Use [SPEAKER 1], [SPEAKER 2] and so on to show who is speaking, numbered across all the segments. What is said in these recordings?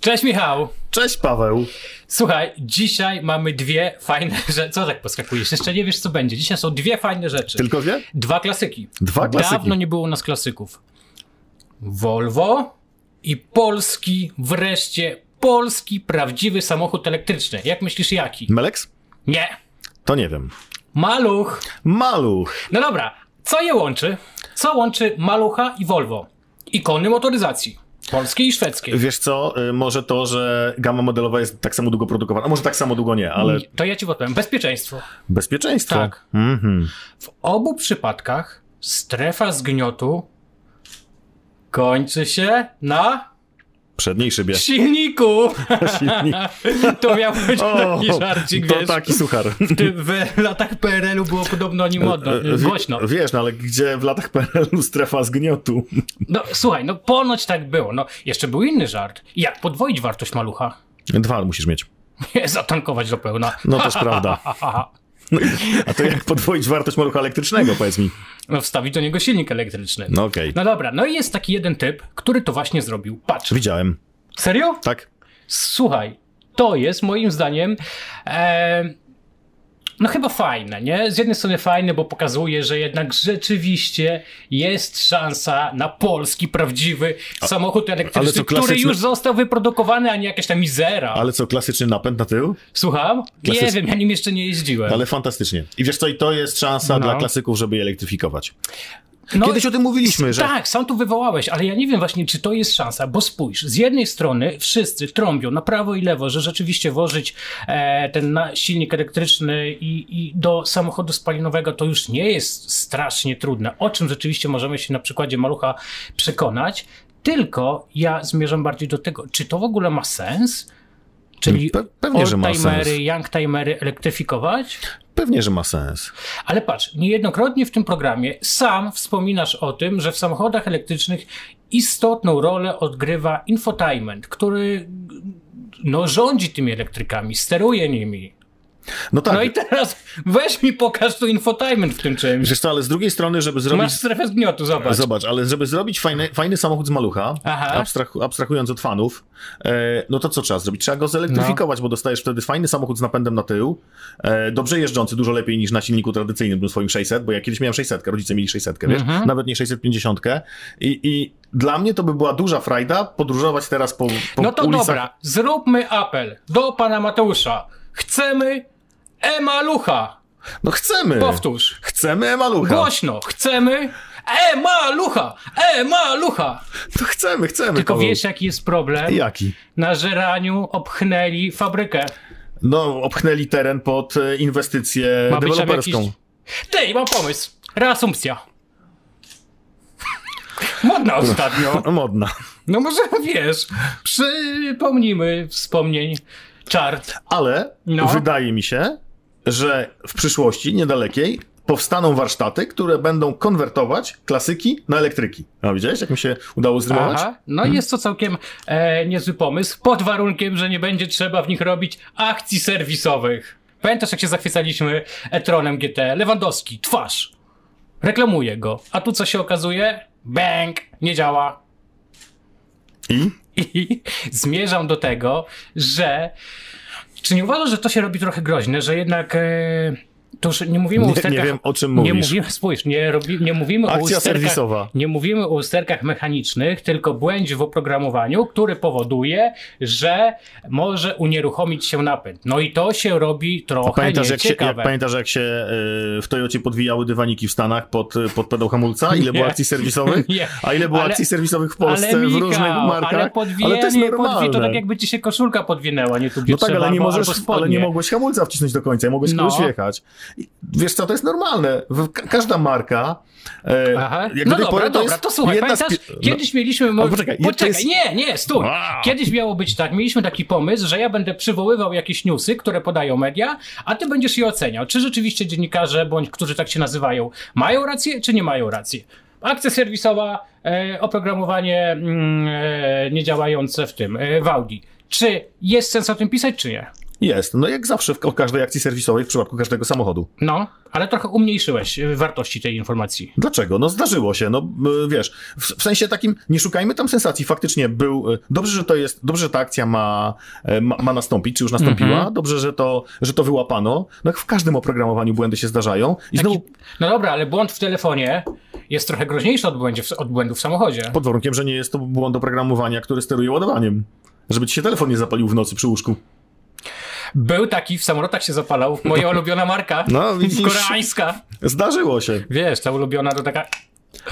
[SPEAKER 1] Cześć Michał!
[SPEAKER 2] Cześć Paweł.
[SPEAKER 1] Słuchaj, dzisiaj mamy dwie fajne rzeczy. Co tak poskakujesz? Jeszcze nie wiesz, co będzie. Dzisiaj są dwie fajne rzeczy.
[SPEAKER 2] Tylko wie?
[SPEAKER 1] Dwa klasyki.
[SPEAKER 2] Dwa klasyki.
[SPEAKER 1] Dawno nie było u nas klasyków. Volvo i polski, wreszcie polski, prawdziwy samochód elektryczny. Jak myślisz, jaki?
[SPEAKER 2] Melex?
[SPEAKER 1] Nie.
[SPEAKER 2] To nie wiem.
[SPEAKER 1] Maluch.
[SPEAKER 2] Maluch.
[SPEAKER 1] No dobra, co je łączy? Co łączy Malucha i Volvo? Ikony motoryzacji. Polskiej i szwedzkiej.
[SPEAKER 2] Wiesz co, y, może to, że gama modelowa jest tak samo długo produkowana, a może tak samo długo nie, ale
[SPEAKER 1] To ja ci podpowiem. Bezpieczeństwo.
[SPEAKER 2] bezpieczeństwo.
[SPEAKER 1] Mm. Tak.
[SPEAKER 2] Mhm.
[SPEAKER 1] W obu przypadkach strefa zgniotu kończy się na
[SPEAKER 2] Przedniej szybie.
[SPEAKER 1] silniku.
[SPEAKER 2] Silnik.
[SPEAKER 1] To miał być
[SPEAKER 2] O,
[SPEAKER 1] taki żarcik,
[SPEAKER 2] to tak-
[SPEAKER 1] wiesz.
[SPEAKER 2] taki suchar.
[SPEAKER 1] W, tym, w latach PRL-u było podobno o nim modno,
[SPEAKER 2] Wie-
[SPEAKER 1] głośno.
[SPEAKER 2] Y, Wiesz, no ale gdzie w latach PRL-u strefa zgniotu?
[SPEAKER 1] No słuchaj, no ponoć tak było. No jeszcze był inny żart. Jak podwoić wartość malucha?
[SPEAKER 2] Dwa musisz mieć.
[SPEAKER 1] Zatankować do pełna.
[SPEAKER 2] No też prawda.
[SPEAKER 1] Ha, ha, ha.
[SPEAKER 2] A to jak podwoić wartość malucha elektrycznego, powiedz mi.
[SPEAKER 1] No wstawić do niego silnik elektryczny.
[SPEAKER 2] No okej.
[SPEAKER 1] No dobra, no i jest taki jeden typ, który to właśnie zrobił. Patrz.
[SPEAKER 2] Widziałem.
[SPEAKER 1] Serio?
[SPEAKER 2] Tak?
[SPEAKER 1] Słuchaj, to jest moim zdaniem. E, no chyba fajne, nie? Z jednej strony fajne, bo pokazuje, że jednak rzeczywiście jest szansa na polski, prawdziwy samochód
[SPEAKER 2] ale
[SPEAKER 1] elektryczny,
[SPEAKER 2] co,
[SPEAKER 1] który
[SPEAKER 2] klasyczny-
[SPEAKER 1] już został wyprodukowany, a nie jakaś tam mizera.
[SPEAKER 2] Ale co, klasyczny napęd na tył?
[SPEAKER 1] Słucham? Nie
[SPEAKER 2] Klasyczny-
[SPEAKER 1] wiem, ja nim jeszcze nie jeździłem.
[SPEAKER 2] Ale fantastycznie. I wiesz co, i to jest szansa
[SPEAKER 1] No.
[SPEAKER 2] dla klasyków, żeby je elektryfikować.
[SPEAKER 1] No,
[SPEAKER 2] Kiedyś o tym mówiliśmy, że...
[SPEAKER 1] Tak, sam tu wywołałeś, ale ja nie wiem właśnie, czy to jest szansa, bo spójrz, z jednej strony wszyscy trąbią na prawo i lewo, że rzeczywiście włożyć e, ten na silnik elektryczny i, i do samochodu spalinowego to już nie jest strasznie trudne, o czym rzeczywiście możemy się na przykładzie malucha przekonać, tylko ja zmierzam bardziej do tego, czy to w ogóle ma sens? Czyli
[SPEAKER 2] Pe- pewnie, że ma
[SPEAKER 1] oldtimery,
[SPEAKER 2] sens.
[SPEAKER 1] youngtimery elektryfikować?
[SPEAKER 2] Pewnie, że ma sens.
[SPEAKER 1] Ale patrz, niejednokrotnie w tym programie sam wspominasz o tym, że w samochodach elektrycznych istotną rolę odgrywa infotainment, który no, rządzi tymi elektrykami, steruje nimi.
[SPEAKER 2] No tak.
[SPEAKER 1] No i teraz weź mi pokaż tu infotainment w tym czymś.
[SPEAKER 2] Wiesz co, ale z drugiej strony, żeby zrobić...
[SPEAKER 1] Masz strefę zgniotu, zobacz.
[SPEAKER 2] Zobacz, ale żeby zrobić fajny, fajny samochód z malucha,
[SPEAKER 1] Aha.
[SPEAKER 2] abstrah- abstrahując od fanów, e, no to co trzeba zrobić? Trzeba go
[SPEAKER 1] No.
[SPEAKER 2] zelektryfikować, bo dostajesz wtedy fajny samochód z napędem na tył, e, dobrze jeżdżący, dużo lepiej niż na silniku tradycyjnym tym swoim 600, bo ja kiedyś miałem 600, rodzice mieli 600, wiesz,
[SPEAKER 1] Mhm.
[SPEAKER 2] nawet nie 650 i, i dla mnie to by była duża frajda podróżować teraz po, po
[SPEAKER 1] No to
[SPEAKER 2] ulicach.
[SPEAKER 1] dobra, zróbmy apel do pana Mateusza. Chcemy e-malucha.
[SPEAKER 2] No chcemy.
[SPEAKER 1] Powtórz.
[SPEAKER 2] Chcemy malucha.
[SPEAKER 1] Głośno, chcemy e-malucha, e-malucha.
[SPEAKER 2] To chcemy, chcemy.
[SPEAKER 1] Tylko
[SPEAKER 2] Paweł.
[SPEAKER 1] wiesz jaki jest problem?
[SPEAKER 2] Jaki?
[SPEAKER 1] na żeraniu obchnęli fabrykę.
[SPEAKER 2] No, obchnęli teren pod e, inwestycję
[SPEAKER 1] Ma być tam
[SPEAKER 2] deweloperską.
[SPEAKER 1] jakiś... Ty, mam pomysł. Reasumpcja. Modna ostatnio.
[SPEAKER 2] Modna.
[SPEAKER 1] No może wiesz, przypomnijmy wspomnień czar.
[SPEAKER 2] Ale
[SPEAKER 1] No.
[SPEAKER 2] wydaje mi się, że w przyszłości niedalekiej powstaną warsztaty, które będą konwertować klasyki na elektryki. A widziałeś, jak mi się udało zrymować?
[SPEAKER 1] Aha, no jest to całkiem e, niezły pomysł, pod warunkiem, że nie będzie trzeba w nich robić akcji serwisowych. Pamiętasz, jak się zachwycaliśmy Etronem GT? Lewandowski, twarz. Reklamuje go. A tu co się okazuje? Bang! Nie działa.
[SPEAKER 2] I?
[SPEAKER 1] I zmierzam do tego, że. Czy nie uważasz, że to się robi trochę groźne, że jednak. E, to już nie mówimy o
[SPEAKER 2] Nie,
[SPEAKER 1] usterkach.
[SPEAKER 2] nie wiem, o czym
[SPEAKER 1] Nie
[SPEAKER 2] mówisz.
[SPEAKER 1] mówimy, spójrz, nie, robi, nie mówimy o
[SPEAKER 2] Akcja
[SPEAKER 1] usterkach.
[SPEAKER 2] serwisowa.
[SPEAKER 1] Nie mówimy o usterkach mechanicznych, tylko błędzie w oprogramowaniu, który powoduje, że może unieruchomić się napęd. No i to się robi trochę
[SPEAKER 2] Pamiętasz jak, się, jak,
[SPEAKER 1] nieciekawe.
[SPEAKER 2] pamiętasz, jak się y, w Toyocie podwijały dywaniki w Stanach pod, y, pod pedał hamulca? Ile było
[SPEAKER 1] Nie.
[SPEAKER 2] akcji serwisowych?
[SPEAKER 1] Nie.
[SPEAKER 2] A ile było
[SPEAKER 1] Ale-
[SPEAKER 2] akcji serwisowych w Polsce w
[SPEAKER 1] Michał,
[SPEAKER 2] różnych markach?
[SPEAKER 1] Ale podwijanie,
[SPEAKER 2] to jest
[SPEAKER 1] podwi, to
[SPEAKER 2] normalne.
[SPEAKER 1] tak jakby ci się koszulka podwinęła, nie tu
[SPEAKER 2] No tak, ale nie,
[SPEAKER 1] albo,
[SPEAKER 2] możesz,
[SPEAKER 1] albo
[SPEAKER 2] ale nie
[SPEAKER 1] spodnie.
[SPEAKER 2] mogłeś hamulca wcisnąć do końca, mogłeś
[SPEAKER 1] No.
[SPEAKER 2] no. kogoś jechać. I Wiesz co, to jest normalne. W- ka- Każda marka. E,
[SPEAKER 1] Aha.
[SPEAKER 2] jak
[SPEAKER 1] No
[SPEAKER 2] do tej
[SPEAKER 1] dobra,
[SPEAKER 2] pory
[SPEAKER 1] dobra, to słuchaj,
[SPEAKER 2] jedna z
[SPEAKER 1] pamiętasz,
[SPEAKER 2] pi- no.
[SPEAKER 1] kiedyś mieliśmy... Mo-
[SPEAKER 2] Ale poczekaj,
[SPEAKER 1] poczekaj,
[SPEAKER 2] je- to jest-
[SPEAKER 1] nie, nie, stój.
[SPEAKER 2] Wow.
[SPEAKER 1] Kiedyś miało być tak, mieliśmy taki pomysł, że ja będę przywoływał jakieś newsy, które podają media, a ty będziesz je oceniał. Czy rzeczywiście dziennikarze, bądź którzy tak się nazywają, mają rację, czy nie mają racji? Akcja serwisowa, e, oprogramowanie mm, e, niedziałające w tym, e, w Audi. Czy jest sens o tym pisać, czy nie?
[SPEAKER 2] Jest. No jak zawsze w o każdej akcji serwisowej, w przypadku każdego samochodu.
[SPEAKER 1] No, ale trochę umniejszyłeś y, wartości tej informacji.
[SPEAKER 2] Dlaczego? No zdarzyło się, no y, wiesz, w, w sensie takim, nie szukajmy tam sensacji, faktycznie był, y, dobrze, że to jest, dobrze, że ta akcja ma, e, ma, ma nastąpić, czy już nastąpiła,
[SPEAKER 1] Mhm.
[SPEAKER 2] dobrze, że to, że to wyłapano, no jak w każdym oprogramowaniu błędy się zdarzają i znowu
[SPEAKER 1] No dobra, ale błąd w telefonie jest trochę groźniejszy od, błędzie w, od błędu w samochodzie.
[SPEAKER 2] pod warunkiem, że nie jest to błąd oprogramowania, który steruje ładowaniem. Żeby ci się telefon nie zapalił w nocy przy łóżku.
[SPEAKER 1] Był taki, w samolotach się zapalał, moja ulubiona marka,
[SPEAKER 2] No, widzisz.
[SPEAKER 1] koreańska.
[SPEAKER 2] Zdarzyło się.
[SPEAKER 1] Wiesz, ta ulubiona to taka...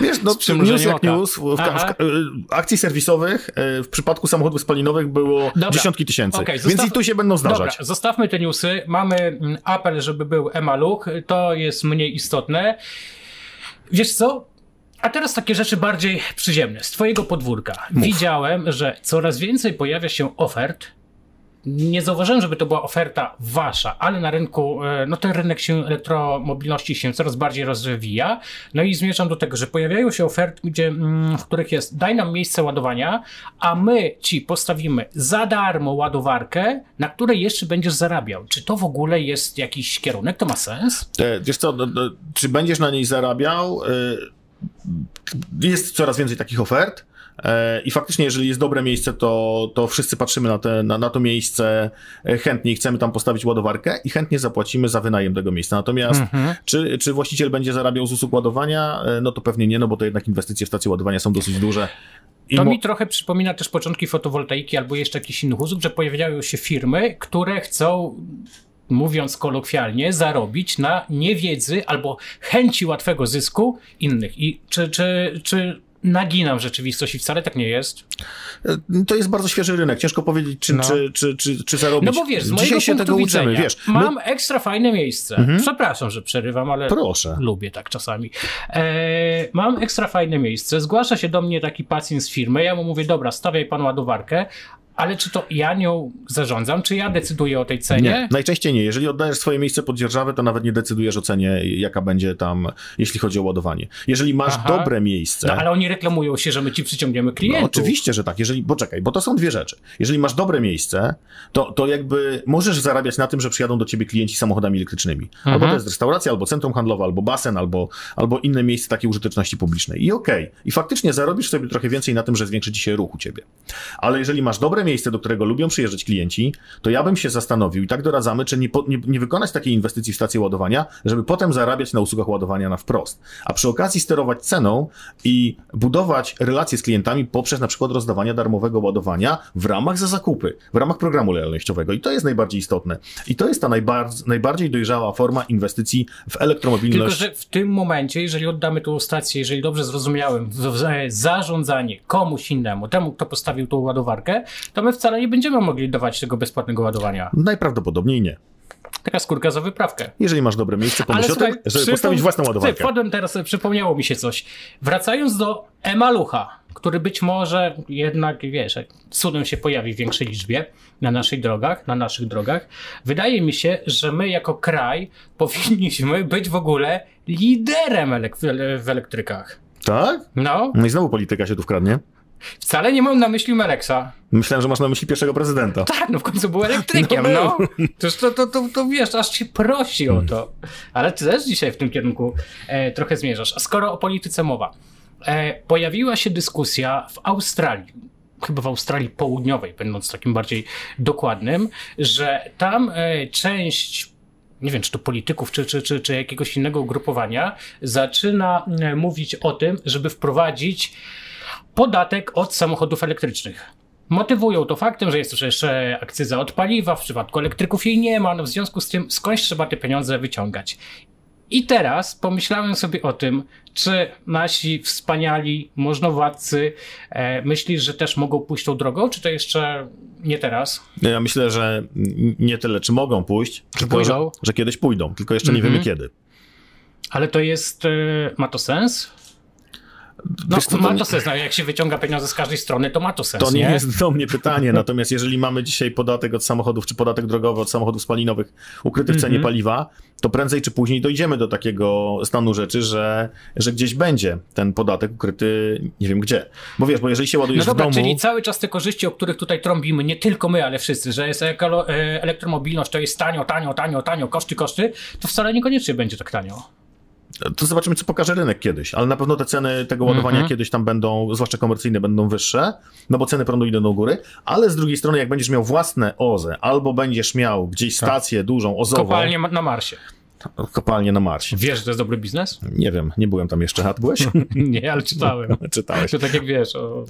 [SPEAKER 2] Wiesz, no,
[SPEAKER 1] Z przymrużeniem
[SPEAKER 2] news jak
[SPEAKER 1] oka.
[SPEAKER 2] news. W, w,
[SPEAKER 1] Aha.
[SPEAKER 2] w, w akcji serwisowych e, w przypadku samochodów spalinowych było
[SPEAKER 1] Dobra.
[SPEAKER 2] dziesiątki tysięcy.
[SPEAKER 1] Okej,
[SPEAKER 2] więc
[SPEAKER 1] zostaw-
[SPEAKER 2] i tu się będą
[SPEAKER 1] Dobra,
[SPEAKER 2] zdarzać.
[SPEAKER 1] zostawmy te newsy. Mamy mm, apel, żeby był emaluch. To jest mniej istotne. Wiesz co? A teraz takie rzeczy bardziej przyziemne. Z twojego podwórka. Widziałem, że coraz więcej pojawia się ofert. Nie zauważyłem, żeby to była oferta wasza, ale na rynku, e, no ten rynek się elektromobilności się coraz bardziej rozwija. No i zmierzam do tego, że pojawiają się oferty, gdzie, mm, w których jest daj nam miejsce ładowania, a my ci postawimy za darmo ładowarkę, na której jeszcze będziesz zarabiał. Czy to w ogóle jest jakiś kierunek? To ma sens?
[SPEAKER 2] E, Wiesz co, no, no, czy będziesz na niej zarabiał? E, Jest coraz więcej takich ofert. e, I faktycznie, jeżeli jest dobre miejsce, to, to wszyscy patrzymy na, te, na, na to miejsce e, chętnie i chcemy tam postawić ładowarkę i chętnie zapłacimy za wynajem tego miejsca. Natomiast
[SPEAKER 1] Mhm.
[SPEAKER 2] czy, czy właściciel będzie zarabiał z usług ładowania? E, No to pewnie nie, no bo to jednak inwestycje w stacje ładowania są dosyć duże. I
[SPEAKER 1] To
[SPEAKER 2] mo-
[SPEAKER 1] mi trochę przypomina też początki fotowoltaiki albo jeszcze jakichś innych usług, że pojawiają się firmy, które chcą, mówiąc kolokwialnie, zarobić na niewiedzy albo chęci łatwego zysku innych. I czy, czy, czy naginam rzeczywistość i wcale tak nie jest?
[SPEAKER 2] E, To jest bardzo świeży rynek. Ciężko powiedzieć, czy,
[SPEAKER 1] No.
[SPEAKER 2] czy, czy, czy, czy zarobić.
[SPEAKER 1] No bo wiesz, z mojego
[SPEAKER 2] Dzisiaj się
[SPEAKER 1] punktu
[SPEAKER 2] tego
[SPEAKER 1] widzenia,
[SPEAKER 2] uczymy, wiesz. Mhm.
[SPEAKER 1] mam ekstra fajne miejsce. Przepraszam, że przerywam, ale
[SPEAKER 2] No, Proszę.
[SPEAKER 1] lubię tak czasami. E, mam ekstra fajne miejsce. Zgłasza się do mnie taki pacjent z firmy. Ja mu mówię, dobra, stawiaj pan ładowarkę, ale czy to ja nią zarządzam, czy ja decyduję o tej cenie?
[SPEAKER 2] Nie, najczęściej nie. Jeżeli oddajesz swoje miejsce pod dzierżawę, to nawet nie decydujesz o cenie, jaka będzie tam, jeśli chodzi o ładowanie. Jeżeli masz
[SPEAKER 1] Aha.
[SPEAKER 2] dobre miejsce.
[SPEAKER 1] No, ale oni reklamują się, że my ci przyciągniemy
[SPEAKER 2] tak. No,
[SPEAKER 1] klientów.
[SPEAKER 2] oczywiście, że tak. Jeżeli, poczekaj, bo to są dwie rzeczy. Jeżeli masz dobre miejsce, to, to jakby możesz zarabiać na tym, że przyjadą do ciebie klienci samochodami elektrycznymi. Albo
[SPEAKER 1] Mhm.
[SPEAKER 2] to jest restauracja, albo centrum handlowe, albo basen, albo, albo inne miejsce takiej użyteczności publicznej. I okej. I faktycznie zarobisz sobie trochę więcej na tym, że zwiększy ci się ruch u ciebie. Ale jeżeli masz dobre miejsce, do którego lubią przyjeżdżać klienci, to ja bym się zastanowił i tak doradzamy, czy nie, po, nie, nie wykonać takiej inwestycji w stację ładowania, żeby potem zarabiać na usługach ładowania na wprost. A przy okazji sterować ceną i budować relacje z klientami poprzez na przykład rozdawanie darmowego ładowania w ramach za zakupy, w ramach programu lojalnościowego. I to jest najbardziej istotne. I to jest ta najbar- najbardziej dojrzała forma inwestycji w
[SPEAKER 1] Tylko,
[SPEAKER 2] elektromobilność.
[SPEAKER 1] że w tym momencie, jeżeli oddamy tą stację, jeżeli dobrze zrozumiałem, w- w- zarządzanie komuś innemu, temu, kto postawił tą ładowarkę, to my wcale nie będziemy mogli dawać tego bezpłatnego ładowania.
[SPEAKER 2] Najprawdopodobniej nie.
[SPEAKER 1] Taka skórka za wyprawkę.
[SPEAKER 2] Jeżeli masz dobre miejsce, pomyśl o tym,
[SPEAKER 1] słuchaj,
[SPEAKER 2] żeby
[SPEAKER 1] przypom-
[SPEAKER 2] postawić własną
[SPEAKER 1] Ty,
[SPEAKER 2] ładowarkę.
[SPEAKER 1] wpadłem teraz, przypomniało mi się coś. Wracając do Emalucha, który być może jednak, wiesz, cudem się pojawi w większej liczbie na naszych drogach, na naszych drogach. Wydaje mi się, że my jako kraj powinniśmy być w ogóle liderem elek w- w elektrykach.
[SPEAKER 2] Tak?
[SPEAKER 1] No,
[SPEAKER 2] No i znowu polityka się tu wkradnie.
[SPEAKER 1] wcale nie mam na myśli Meleksa.
[SPEAKER 2] Myślałem, że masz na myśli pierwszego prezydenta.
[SPEAKER 1] Tak, no w końcu był Hmm. elektrykiem,
[SPEAKER 2] No
[SPEAKER 1] no. To, to, to, to, to wiesz, aż się prosi o to. Ale ty też dzisiaj w tym kierunku e, trochę zmierzasz. A skoro o polityce mowa, e, pojawiła się dyskusja w Australii, chyba w Australii Południowej, będąc takim bardziej dokładnym, że tam e, część nie wiem, czy to polityków, czy, czy, czy, czy jakiegoś innego ugrupowania, zaczyna e, mówić o tym, żeby wprowadzić podatek od samochodów elektrycznych. Motywują to faktem, że jest to przecież e, akcyza od paliwa, w przypadku elektryków jej nie ma, no w związku z tym skądś trzeba te pieniądze wyciągać. I teraz pomyślałem sobie o tym, czy nasi wspaniali możnowładcy e, myślisz, że też mogą pójść tą drogą, czy to jeszcze nie teraz?
[SPEAKER 2] Ja myślę, że n- nie tyle, czy mogą pójść, tylko, że,
[SPEAKER 1] pójdą?
[SPEAKER 2] że kiedyś pójdą, tylko jeszcze nie
[SPEAKER 1] Mhm.
[SPEAKER 2] wiemy kiedy.
[SPEAKER 1] Ale to jest, e, ma to sens? No,
[SPEAKER 2] Wiesz co,
[SPEAKER 1] ma
[SPEAKER 2] nie-
[SPEAKER 1] to sens, no, jak się wyciąga pieniądze z każdej strony, to ma to sens.
[SPEAKER 2] To nie jest do mnie pytanie, natomiast jeżeli mamy dzisiaj podatek od samochodów, czy podatek drogowy od samochodów spalinowych ukryty w cenie
[SPEAKER 1] Mhm.
[SPEAKER 2] paliwa, to prędzej czy później dojdziemy do takiego stanu rzeczy, że, że gdzieś będzie ten podatek ukryty nie wiem gdzie. Bo wiesz, bo jeżeli się ładujesz
[SPEAKER 1] No dobra,
[SPEAKER 2] w domu...
[SPEAKER 1] czyli cały czas te korzyści, o których tutaj trąbimy, nie tylko my, ale wszyscy, że jest ekolo- e, elektromobilność, to jest tanio, tanio, tanio, tanio, koszty, koszty, to wcale niekoniecznie będzie tak tanio.
[SPEAKER 2] To zobaczymy, co pokaże rynek kiedyś, ale na pewno te ceny tego ładowania
[SPEAKER 1] Mhm.
[SPEAKER 2] kiedyś tam będą, zwłaszcza komercyjne, będą wyższe, no bo ceny prądu idą do góry, ale z drugiej strony, jak będziesz miał własne OZE, albo będziesz miał gdzieś
[SPEAKER 1] Tak.
[SPEAKER 2] stację dużą, ozową,
[SPEAKER 1] Kopalnie ma- na Marsie.
[SPEAKER 2] kopalnię na Marsie.
[SPEAKER 1] Wiesz, że to jest dobry biznes?
[SPEAKER 2] Nie wiem, nie byłem tam jeszcze, a ty byłeś?
[SPEAKER 1] nie, ale czytałem.
[SPEAKER 2] Czytałeś.
[SPEAKER 1] To tak jak wiesz. O...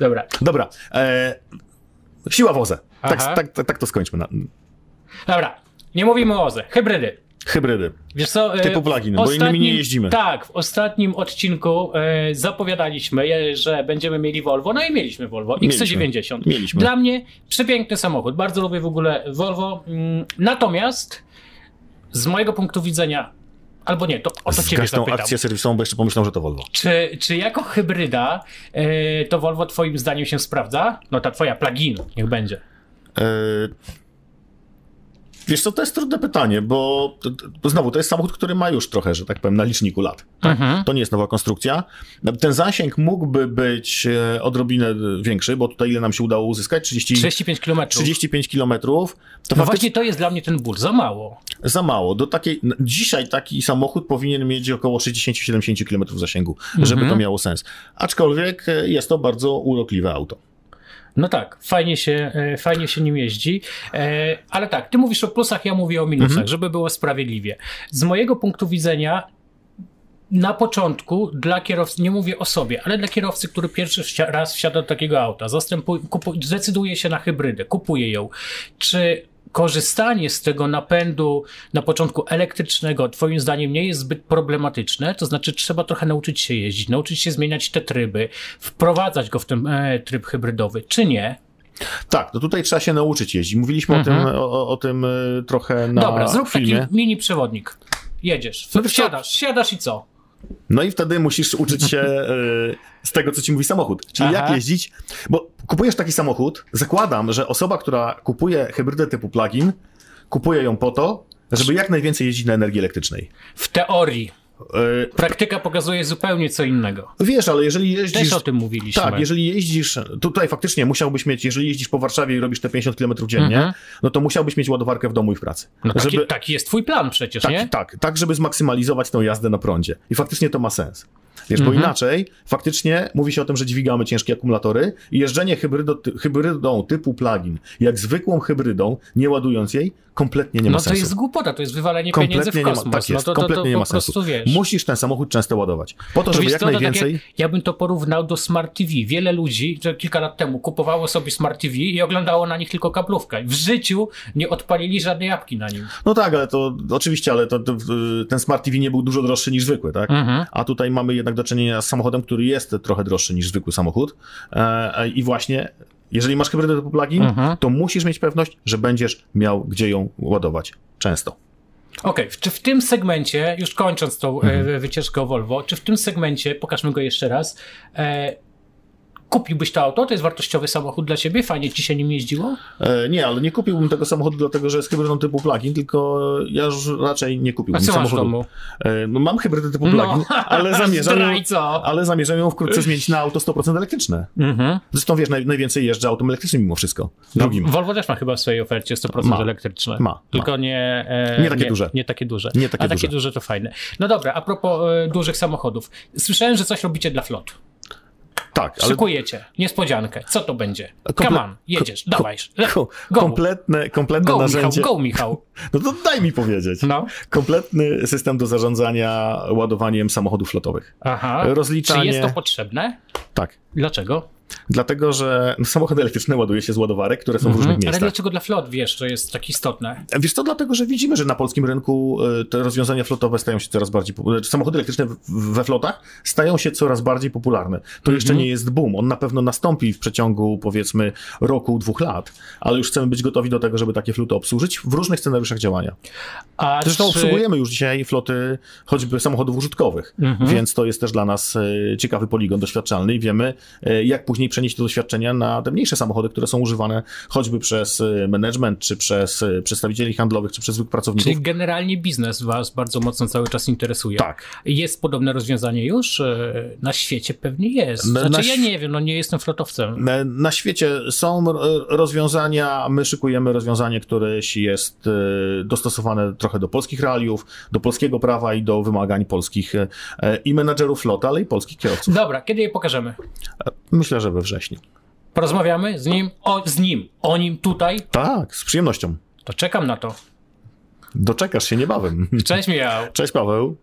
[SPEAKER 1] Dobra.
[SPEAKER 2] Dobra, e, siła w OZE. Tak,
[SPEAKER 1] Aha.
[SPEAKER 2] tak, tak, tak to skończmy. Na,
[SPEAKER 1] Dobra. Nie mówimy o OZE. Hybrydy.
[SPEAKER 2] hybrydy.
[SPEAKER 1] Wiesz co, e,
[SPEAKER 2] Typu plugin, bo
[SPEAKER 1] ostatnim-
[SPEAKER 2] innymi nie jeździmy.
[SPEAKER 1] Tak, w ostatnim odcinku e, zapowiadaliśmy, e, że będziemy mieli Volvo, no i mieliśmy Volvo
[SPEAKER 2] Mieliśmy.
[SPEAKER 1] XC90.
[SPEAKER 2] Mieliśmy.
[SPEAKER 1] Dla mnie przepiękny samochód, bardzo lubię w ogóle Volvo. Mm, Natomiast z mojego punktu widzenia, albo nie, to o to ciebie
[SPEAKER 2] Zgaś tą
[SPEAKER 1] zapytam.
[SPEAKER 2] akcję serwisową, bo jeszcze pomyślał, że to Volvo.
[SPEAKER 1] Czy, czy jako hybryda e, to Volvo twoim zdaniem się sprawdza? No ta twoja plug-in, niech będzie.
[SPEAKER 2] E, Wiesz co, to jest trudne pytanie, bo, bo znowu, to jest samochód, który ma już trochę, że tak powiem, na liczniku lat.
[SPEAKER 1] Mhm.
[SPEAKER 2] To nie jest nowa konstrukcja. Ten zasięg mógłby być e, odrobinę większy, bo tutaj ile nam się udało uzyskać? 30,
[SPEAKER 1] 35 km.
[SPEAKER 2] 35 kilometrów. To
[SPEAKER 1] No
[SPEAKER 2] faktycznie
[SPEAKER 1] właśnie to jest dla mnie ten ból, za mało.
[SPEAKER 2] za mało. Do takiej, n- dzisiaj taki samochód powinien mieć około 60-70 kilometrów zasięgu, żeby
[SPEAKER 1] Mhm.
[SPEAKER 2] to miało sens. Aczkolwiek e, jest to bardzo urokliwe auto.
[SPEAKER 1] No tak, fajnie się, e, fajnie się nim jeździ. E, Ale tak, ty mówisz o plusach, ja mówię o minusach, żeby było sprawiedliwie. Z mojego punktu widzenia. Na początku dla kierowcy, nie mówię o sobie, ale dla kierowcy, który pierwszy wsia- raz wsiada do takiego auta, zastępuje, kupu, decyduje się na hybrydę, kupuje ją. Czy korzystanie z tego napędu na początku elektrycznego, Twoim zdaniem, nie jest zbyt problematyczne? To znaczy, trzeba trochę nauczyć się jeździć, nauczyć się zmieniać te tryby, wprowadzać go w ten e, tryb hybrydowy, czy nie?
[SPEAKER 2] Tak, no tutaj trzeba się nauczyć jeździć. Mówiliśmy o tym, o- o, o tym e, trochę na
[SPEAKER 1] Mhm. Dobra, zrób
[SPEAKER 2] filmie.
[SPEAKER 1] taki mini przewodnik. Jedziesz,
[SPEAKER 2] No wiesz co?
[SPEAKER 1] siadasz, siadasz i co?
[SPEAKER 2] No i wtedy musisz uczyć się y, z tego, co ci mówi samochód. Czyli
[SPEAKER 1] Aha.
[SPEAKER 2] jak jeździć. Bo kupujesz taki samochód, zakładam, że osoba, która kupuje hybrydę typu plug-in, kupuje ją po to, żeby jak najwięcej jeździć na energii elektrycznej.
[SPEAKER 1] W teorii.
[SPEAKER 2] Y,
[SPEAKER 1] Praktyka pokazuje zupełnie co innego.
[SPEAKER 2] wiesz, ale jeżeli jeździsz.
[SPEAKER 1] Też o tym mówiliśmy.
[SPEAKER 2] Tak, jeżeli jeździsz, tutaj faktycznie musiałbyś mieć, jeżeli jeździsz po Warszawie i robisz te 50 km dziennie,
[SPEAKER 1] Mhm.
[SPEAKER 2] no to musiałbyś mieć ładowarkę w domu i w pracy.
[SPEAKER 1] no taki,
[SPEAKER 2] żeby,
[SPEAKER 1] taki jest twój plan przecież,
[SPEAKER 2] Tak,
[SPEAKER 1] nie?
[SPEAKER 2] tak, tak, żeby zmaksymalizować tą jazdę na prądzie. I faktycznie to ma sens. Wiesz,
[SPEAKER 1] Mhm.
[SPEAKER 2] bo inaczej faktycznie mówi się o tym, że dźwigamy ciężkie akumulatory i jeżdżenie hybrydo, ty, hybrydą typu plugin, jak zwykłą hybrydą, nie ładując jej, kompletnie nie ma
[SPEAKER 1] no to
[SPEAKER 2] sensu.
[SPEAKER 1] jest głupota, to jest wywalanie pieniędzy
[SPEAKER 2] kompletnie
[SPEAKER 1] w
[SPEAKER 2] nie ma,
[SPEAKER 1] kosmos.
[SPEAKER 2] tak jest,
[SPEAKER 1] no to, to,
[SPEAKER 2] kompletnie
[SPEAKER 1] to
[SPEAKER 2] nie
[SPEAKER 1] po
[SPEAKER 2] ma sensu.
[SPEAKER 1] prostu wiesz.
[SPEAKER 2] Musisz ten samochód często ładować. Po to,
[SPEAKER 1] To
[SPEAKER 2] żeby
[SPEAKER 1] wiesz
[SPEAKER 2] jak
[SPEAKER 1] co, to Tak
[SPEAKER 2] najwięcej...
[SPEAKER 1] jak, ja bym to porównał do Smart TV. Wiele ludzi że kilka lat temu kupowało sobie Smart TV i oglądało na nich tylko kablówkę. W życiu nie odpalili żadnej apki na nim.
[SPEAKER 2] No tak, ale to oczywiście, ale to, to, y, ten Smart TV nie był dużo droższy niż zwykły, tak?
[SPEAKER 1] Mhm.
[SPEAKER 2] A tutaj mamy jednak do czynienia z samochodem, który jest trochę droższy niż zwykły samochód. E, e, I właśnie, jeżeli masz hybrydę typu plug-in,
[SPEAKER 1] Mhm.
[SPEAKER 2] to musisz mieć pewność, że będziesz miał gdzie ją ładować często.
[SPEAKER 1] Okej, czy w tym segmencie, już kończąc tą
[SPEAKER 2] Mhm.
[SPEAKER 1] e, wycieczkę o Volvo, czy w tym segmencie, pokażmy go jeszcze raz, e, kupiłbyś to auto? To jest wartościowy samochód dla ciebie? Fajnie ci się nim jeździło?
[SPEAKER 2] E, nie, ale nie kupiłbym tego samochodu dlatego, że jest hybrydą typu plug-in, tylko ja już raczej nie
[SPEAKER 1] A
[SPEAKER 2] kupiłbym
[SPEAKER 1] co masz w
[SPEAKER 2] samochodu.
[SPEAKER 1] domu? No,
[SPEAKER 2] E, no, mam hybrydę typu plug-in, ale zamierzam ją...
[SPEAKER 1] Zdrajco!
[SPEAKER 2] Ale zamierzam ją wkrótce zmienić na auto 100% elektryczne.
[SPEAKER 1] Mhm.
[SPEAKER 2] Zresztą wiesz, naj, najwięcej jeżdżę autem elektrycznym mimo wszystko. Drugim.
[SPEAKER 1] No, Volvo też ma chyba w swojej ofercie 100%
[SPEAKER 2] Ma.
[SPEAKER 1] elektryczne.
[SPEAKER 2] Ma, ma.
[SPEAKER 1] Tylko nie... e,
[SPEAKER 2] Nie takie duże.
[SPEAKER 1] Nie takie duże.
[SPEAKER 2] Nie takie
[SPEAKER 1] a takie
[SPEAKER 2] duże.
[SPEAKER 1] duże. to fajne. No dobra, a propos e, dużych samochodów. Słyszałem, że coś robicie dla flot.
[SPEAKER 2] Tak, ale
[SPEAKER 1] Szykujecie. Niespodziankę. Co to będzie?
[SPEAKER 2] Komple-
[SPEAKER 1] Come on, jedziesz,
[SPEAKER 2] ko-
[SPEAKER 1] dawaj.
[SPEAKER 2] Ko-
[SPEAKER 1] Go.
[SPEAKER 2] kompletne, kompletne
[SPEAKER 1] Go, Michał,
[SPEAKER 2] narzędzie.
[SPEAKER 1] go, Michał.
[SPEAKER 2] No to daj mi powiedzieć.
[SPEAKER 1] No.
[SPEAKER 2] Kompletny system do zarządzania ładowaniem samochodów flotowych.
[SPEAKER 1] Aha.
[SPEAKER 2] Rozliczanie.
[SPEAKER 1] Czy jest to potrzebne?
[SPEAKER 2] Tak.
[SPEAKER 1] Dlaczego?
[SPEAKER 2] Dlatego, że samochody elektryczne ładuje się z ładowarek, które są w różnych
[SPEAKER 1] Mhm. Ale
[SPEAKER 2] miejscach.
[SPEAKER 1] dlaczego dla flot, wiesz, to jest tak istotne?
[SPEAKER 2] Wiesz co, dlatego, że widzimy, że na polskim rynku y, te rozwiązania flotowe stają się coraz bardziej popularne. Samochody elektryczne w- we flotach stają się coraz bardziej popularne. To jeszcze
[SPEAKER 1] Mhm.
[SPEAKER 2] nie jest boom. On na pewno nastąpi w przeciągu powiedzmy roku, dwóch lat, ale już chcemy być gotowi do tego, żeby takie floty obsłużyć w różnych scenariuszach działania.
[SPEAKER 1] A
[SPEAKER 2] Zresztą
[SPEAKER 1] czy-
[SPEAKER 2] obsługujemy już dzisiaj floty choćby samochodów użytkowych,
[SPEAKER 1] Mhm.
[SPEAKER 2] więc to jest też dla nas y, ciekawy poligon doświadczalny i wiemy, y, jak później przenieść te doświadczenia na te mniejsze samochody, które są używane choćby przez y, management, czy przez y, przedstawicieli handlowych, czy przez zwykłych pracowników.
[SPEAKER 1] Czyli generalnie biznes was bardzo mocno cały czas interesuje.
[SPEAKER 2] Tak.
[SPEAKER 1] Jest podobne rozwiązanie już? E, Na świecie pewnie jest.
[SPEAKER 2] Na-
[SPEAKER 1] Znaczy
[SPEAKER 2] na
[SPEAKER 1] ja
[SPEAKER 2] św-
[SPEAKER 1] nie wiem, no nie jestem flotowcem.
[SPEAKER 2] Na- E, Na świecie są r- rozwiązania, my szykujemy rozwiązanie, które się jest y, dostosowane trochę do polskich realiów, do polskiego prawa i do wymagań polskich y, i menadżerów flot, ale i polskich kierowców. E,
[SPEAKER 1] Dobra, kiedy je pokażemy?
[SPEAKER 2] Myślę, że we wrześniu.
[SPEAKER 1] Porozmawiamy z nim, o, z nim, o nim tutaj,
[SPEAKER 2] Tak, z przyjemnością.
[SPEAKER 1] to czekam na to.
[SPEAKER 2] Doczekasz się niebawem.
[SPEAKER 1] Cześć Michał.
[SPEAKER 2] Cześć Paweł.